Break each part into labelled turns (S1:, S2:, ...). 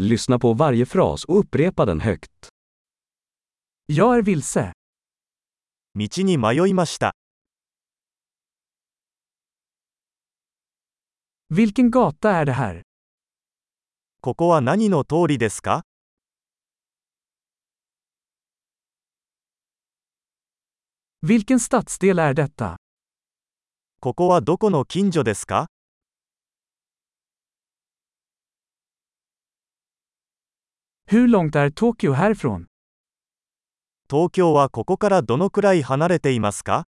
S1: Lyssna på varje fras och upprepa den högt. Jag är vilse.
S2: 道に迷いました
S1: Vilken gata är det här?
S2: ここは何の通りですか
S1: Vilken stadsdel är detta?
S2: ここはどこの近所ですか
S1: Hur långt är Tokyo härifrån?
S2: 東京はここからどのくらい離れていますか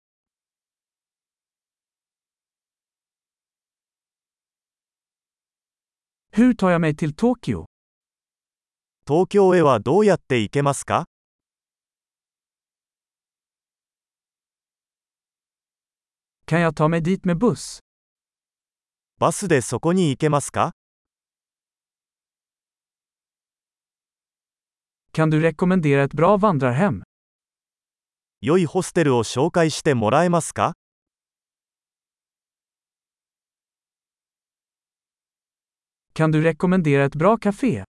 S1: Hur tar jag mig till Tokyo?
S2: 東京へはどうやって行けますか
S1: Kan jag ta mig dit med buss?
S2: バスでそこに行けますか
S1: Kan du rekommendera ett bra vandrarhem?
S2: 良いホステルを紹介してもらえますか
S1: Kan du rekommendera ett bra café?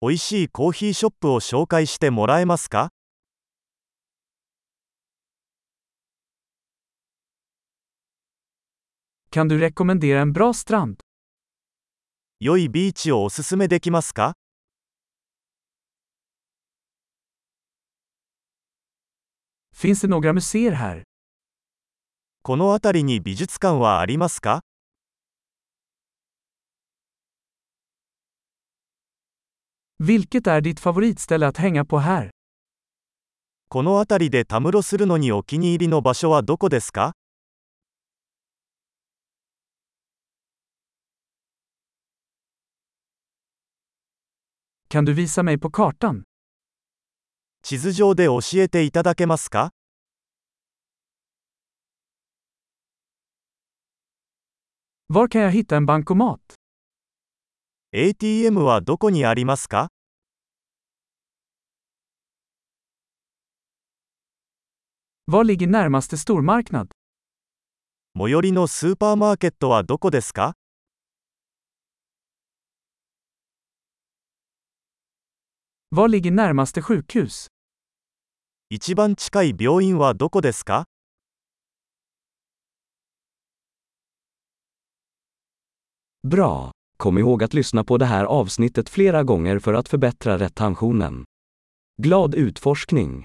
S2: 美味しいコーヒーショップを紹介してもらえますか
S1: Kan du rekommendera en bra strand?
S2: 良いビーチをおすすめできますか
S1: Finns det några museer här?
S2: この辺りに美術館はありますか
S1: Vilket är ditt favoritställe att hänga på här?
S2: この辺りでたむろするのにお気に入りの場所はどこですか
S1: Kan du visa mig på kartan?
S2: 地図上で教えていただけますか
S1: Var kan jag hitta en bankomat?
S2: ATM はどこにありますか
S1: Var ligger närmaste stormarknad?
S2: 最寄りのスーパーマーケットはどこですか
S1: Var ligger närmaste sjukhus?
S2: 一番近い病院はどこですか
S1: Bra! Kom ihåg att lyssna på det här avsnittet flera gånger för att förbättra retentionen. Glad utforskning!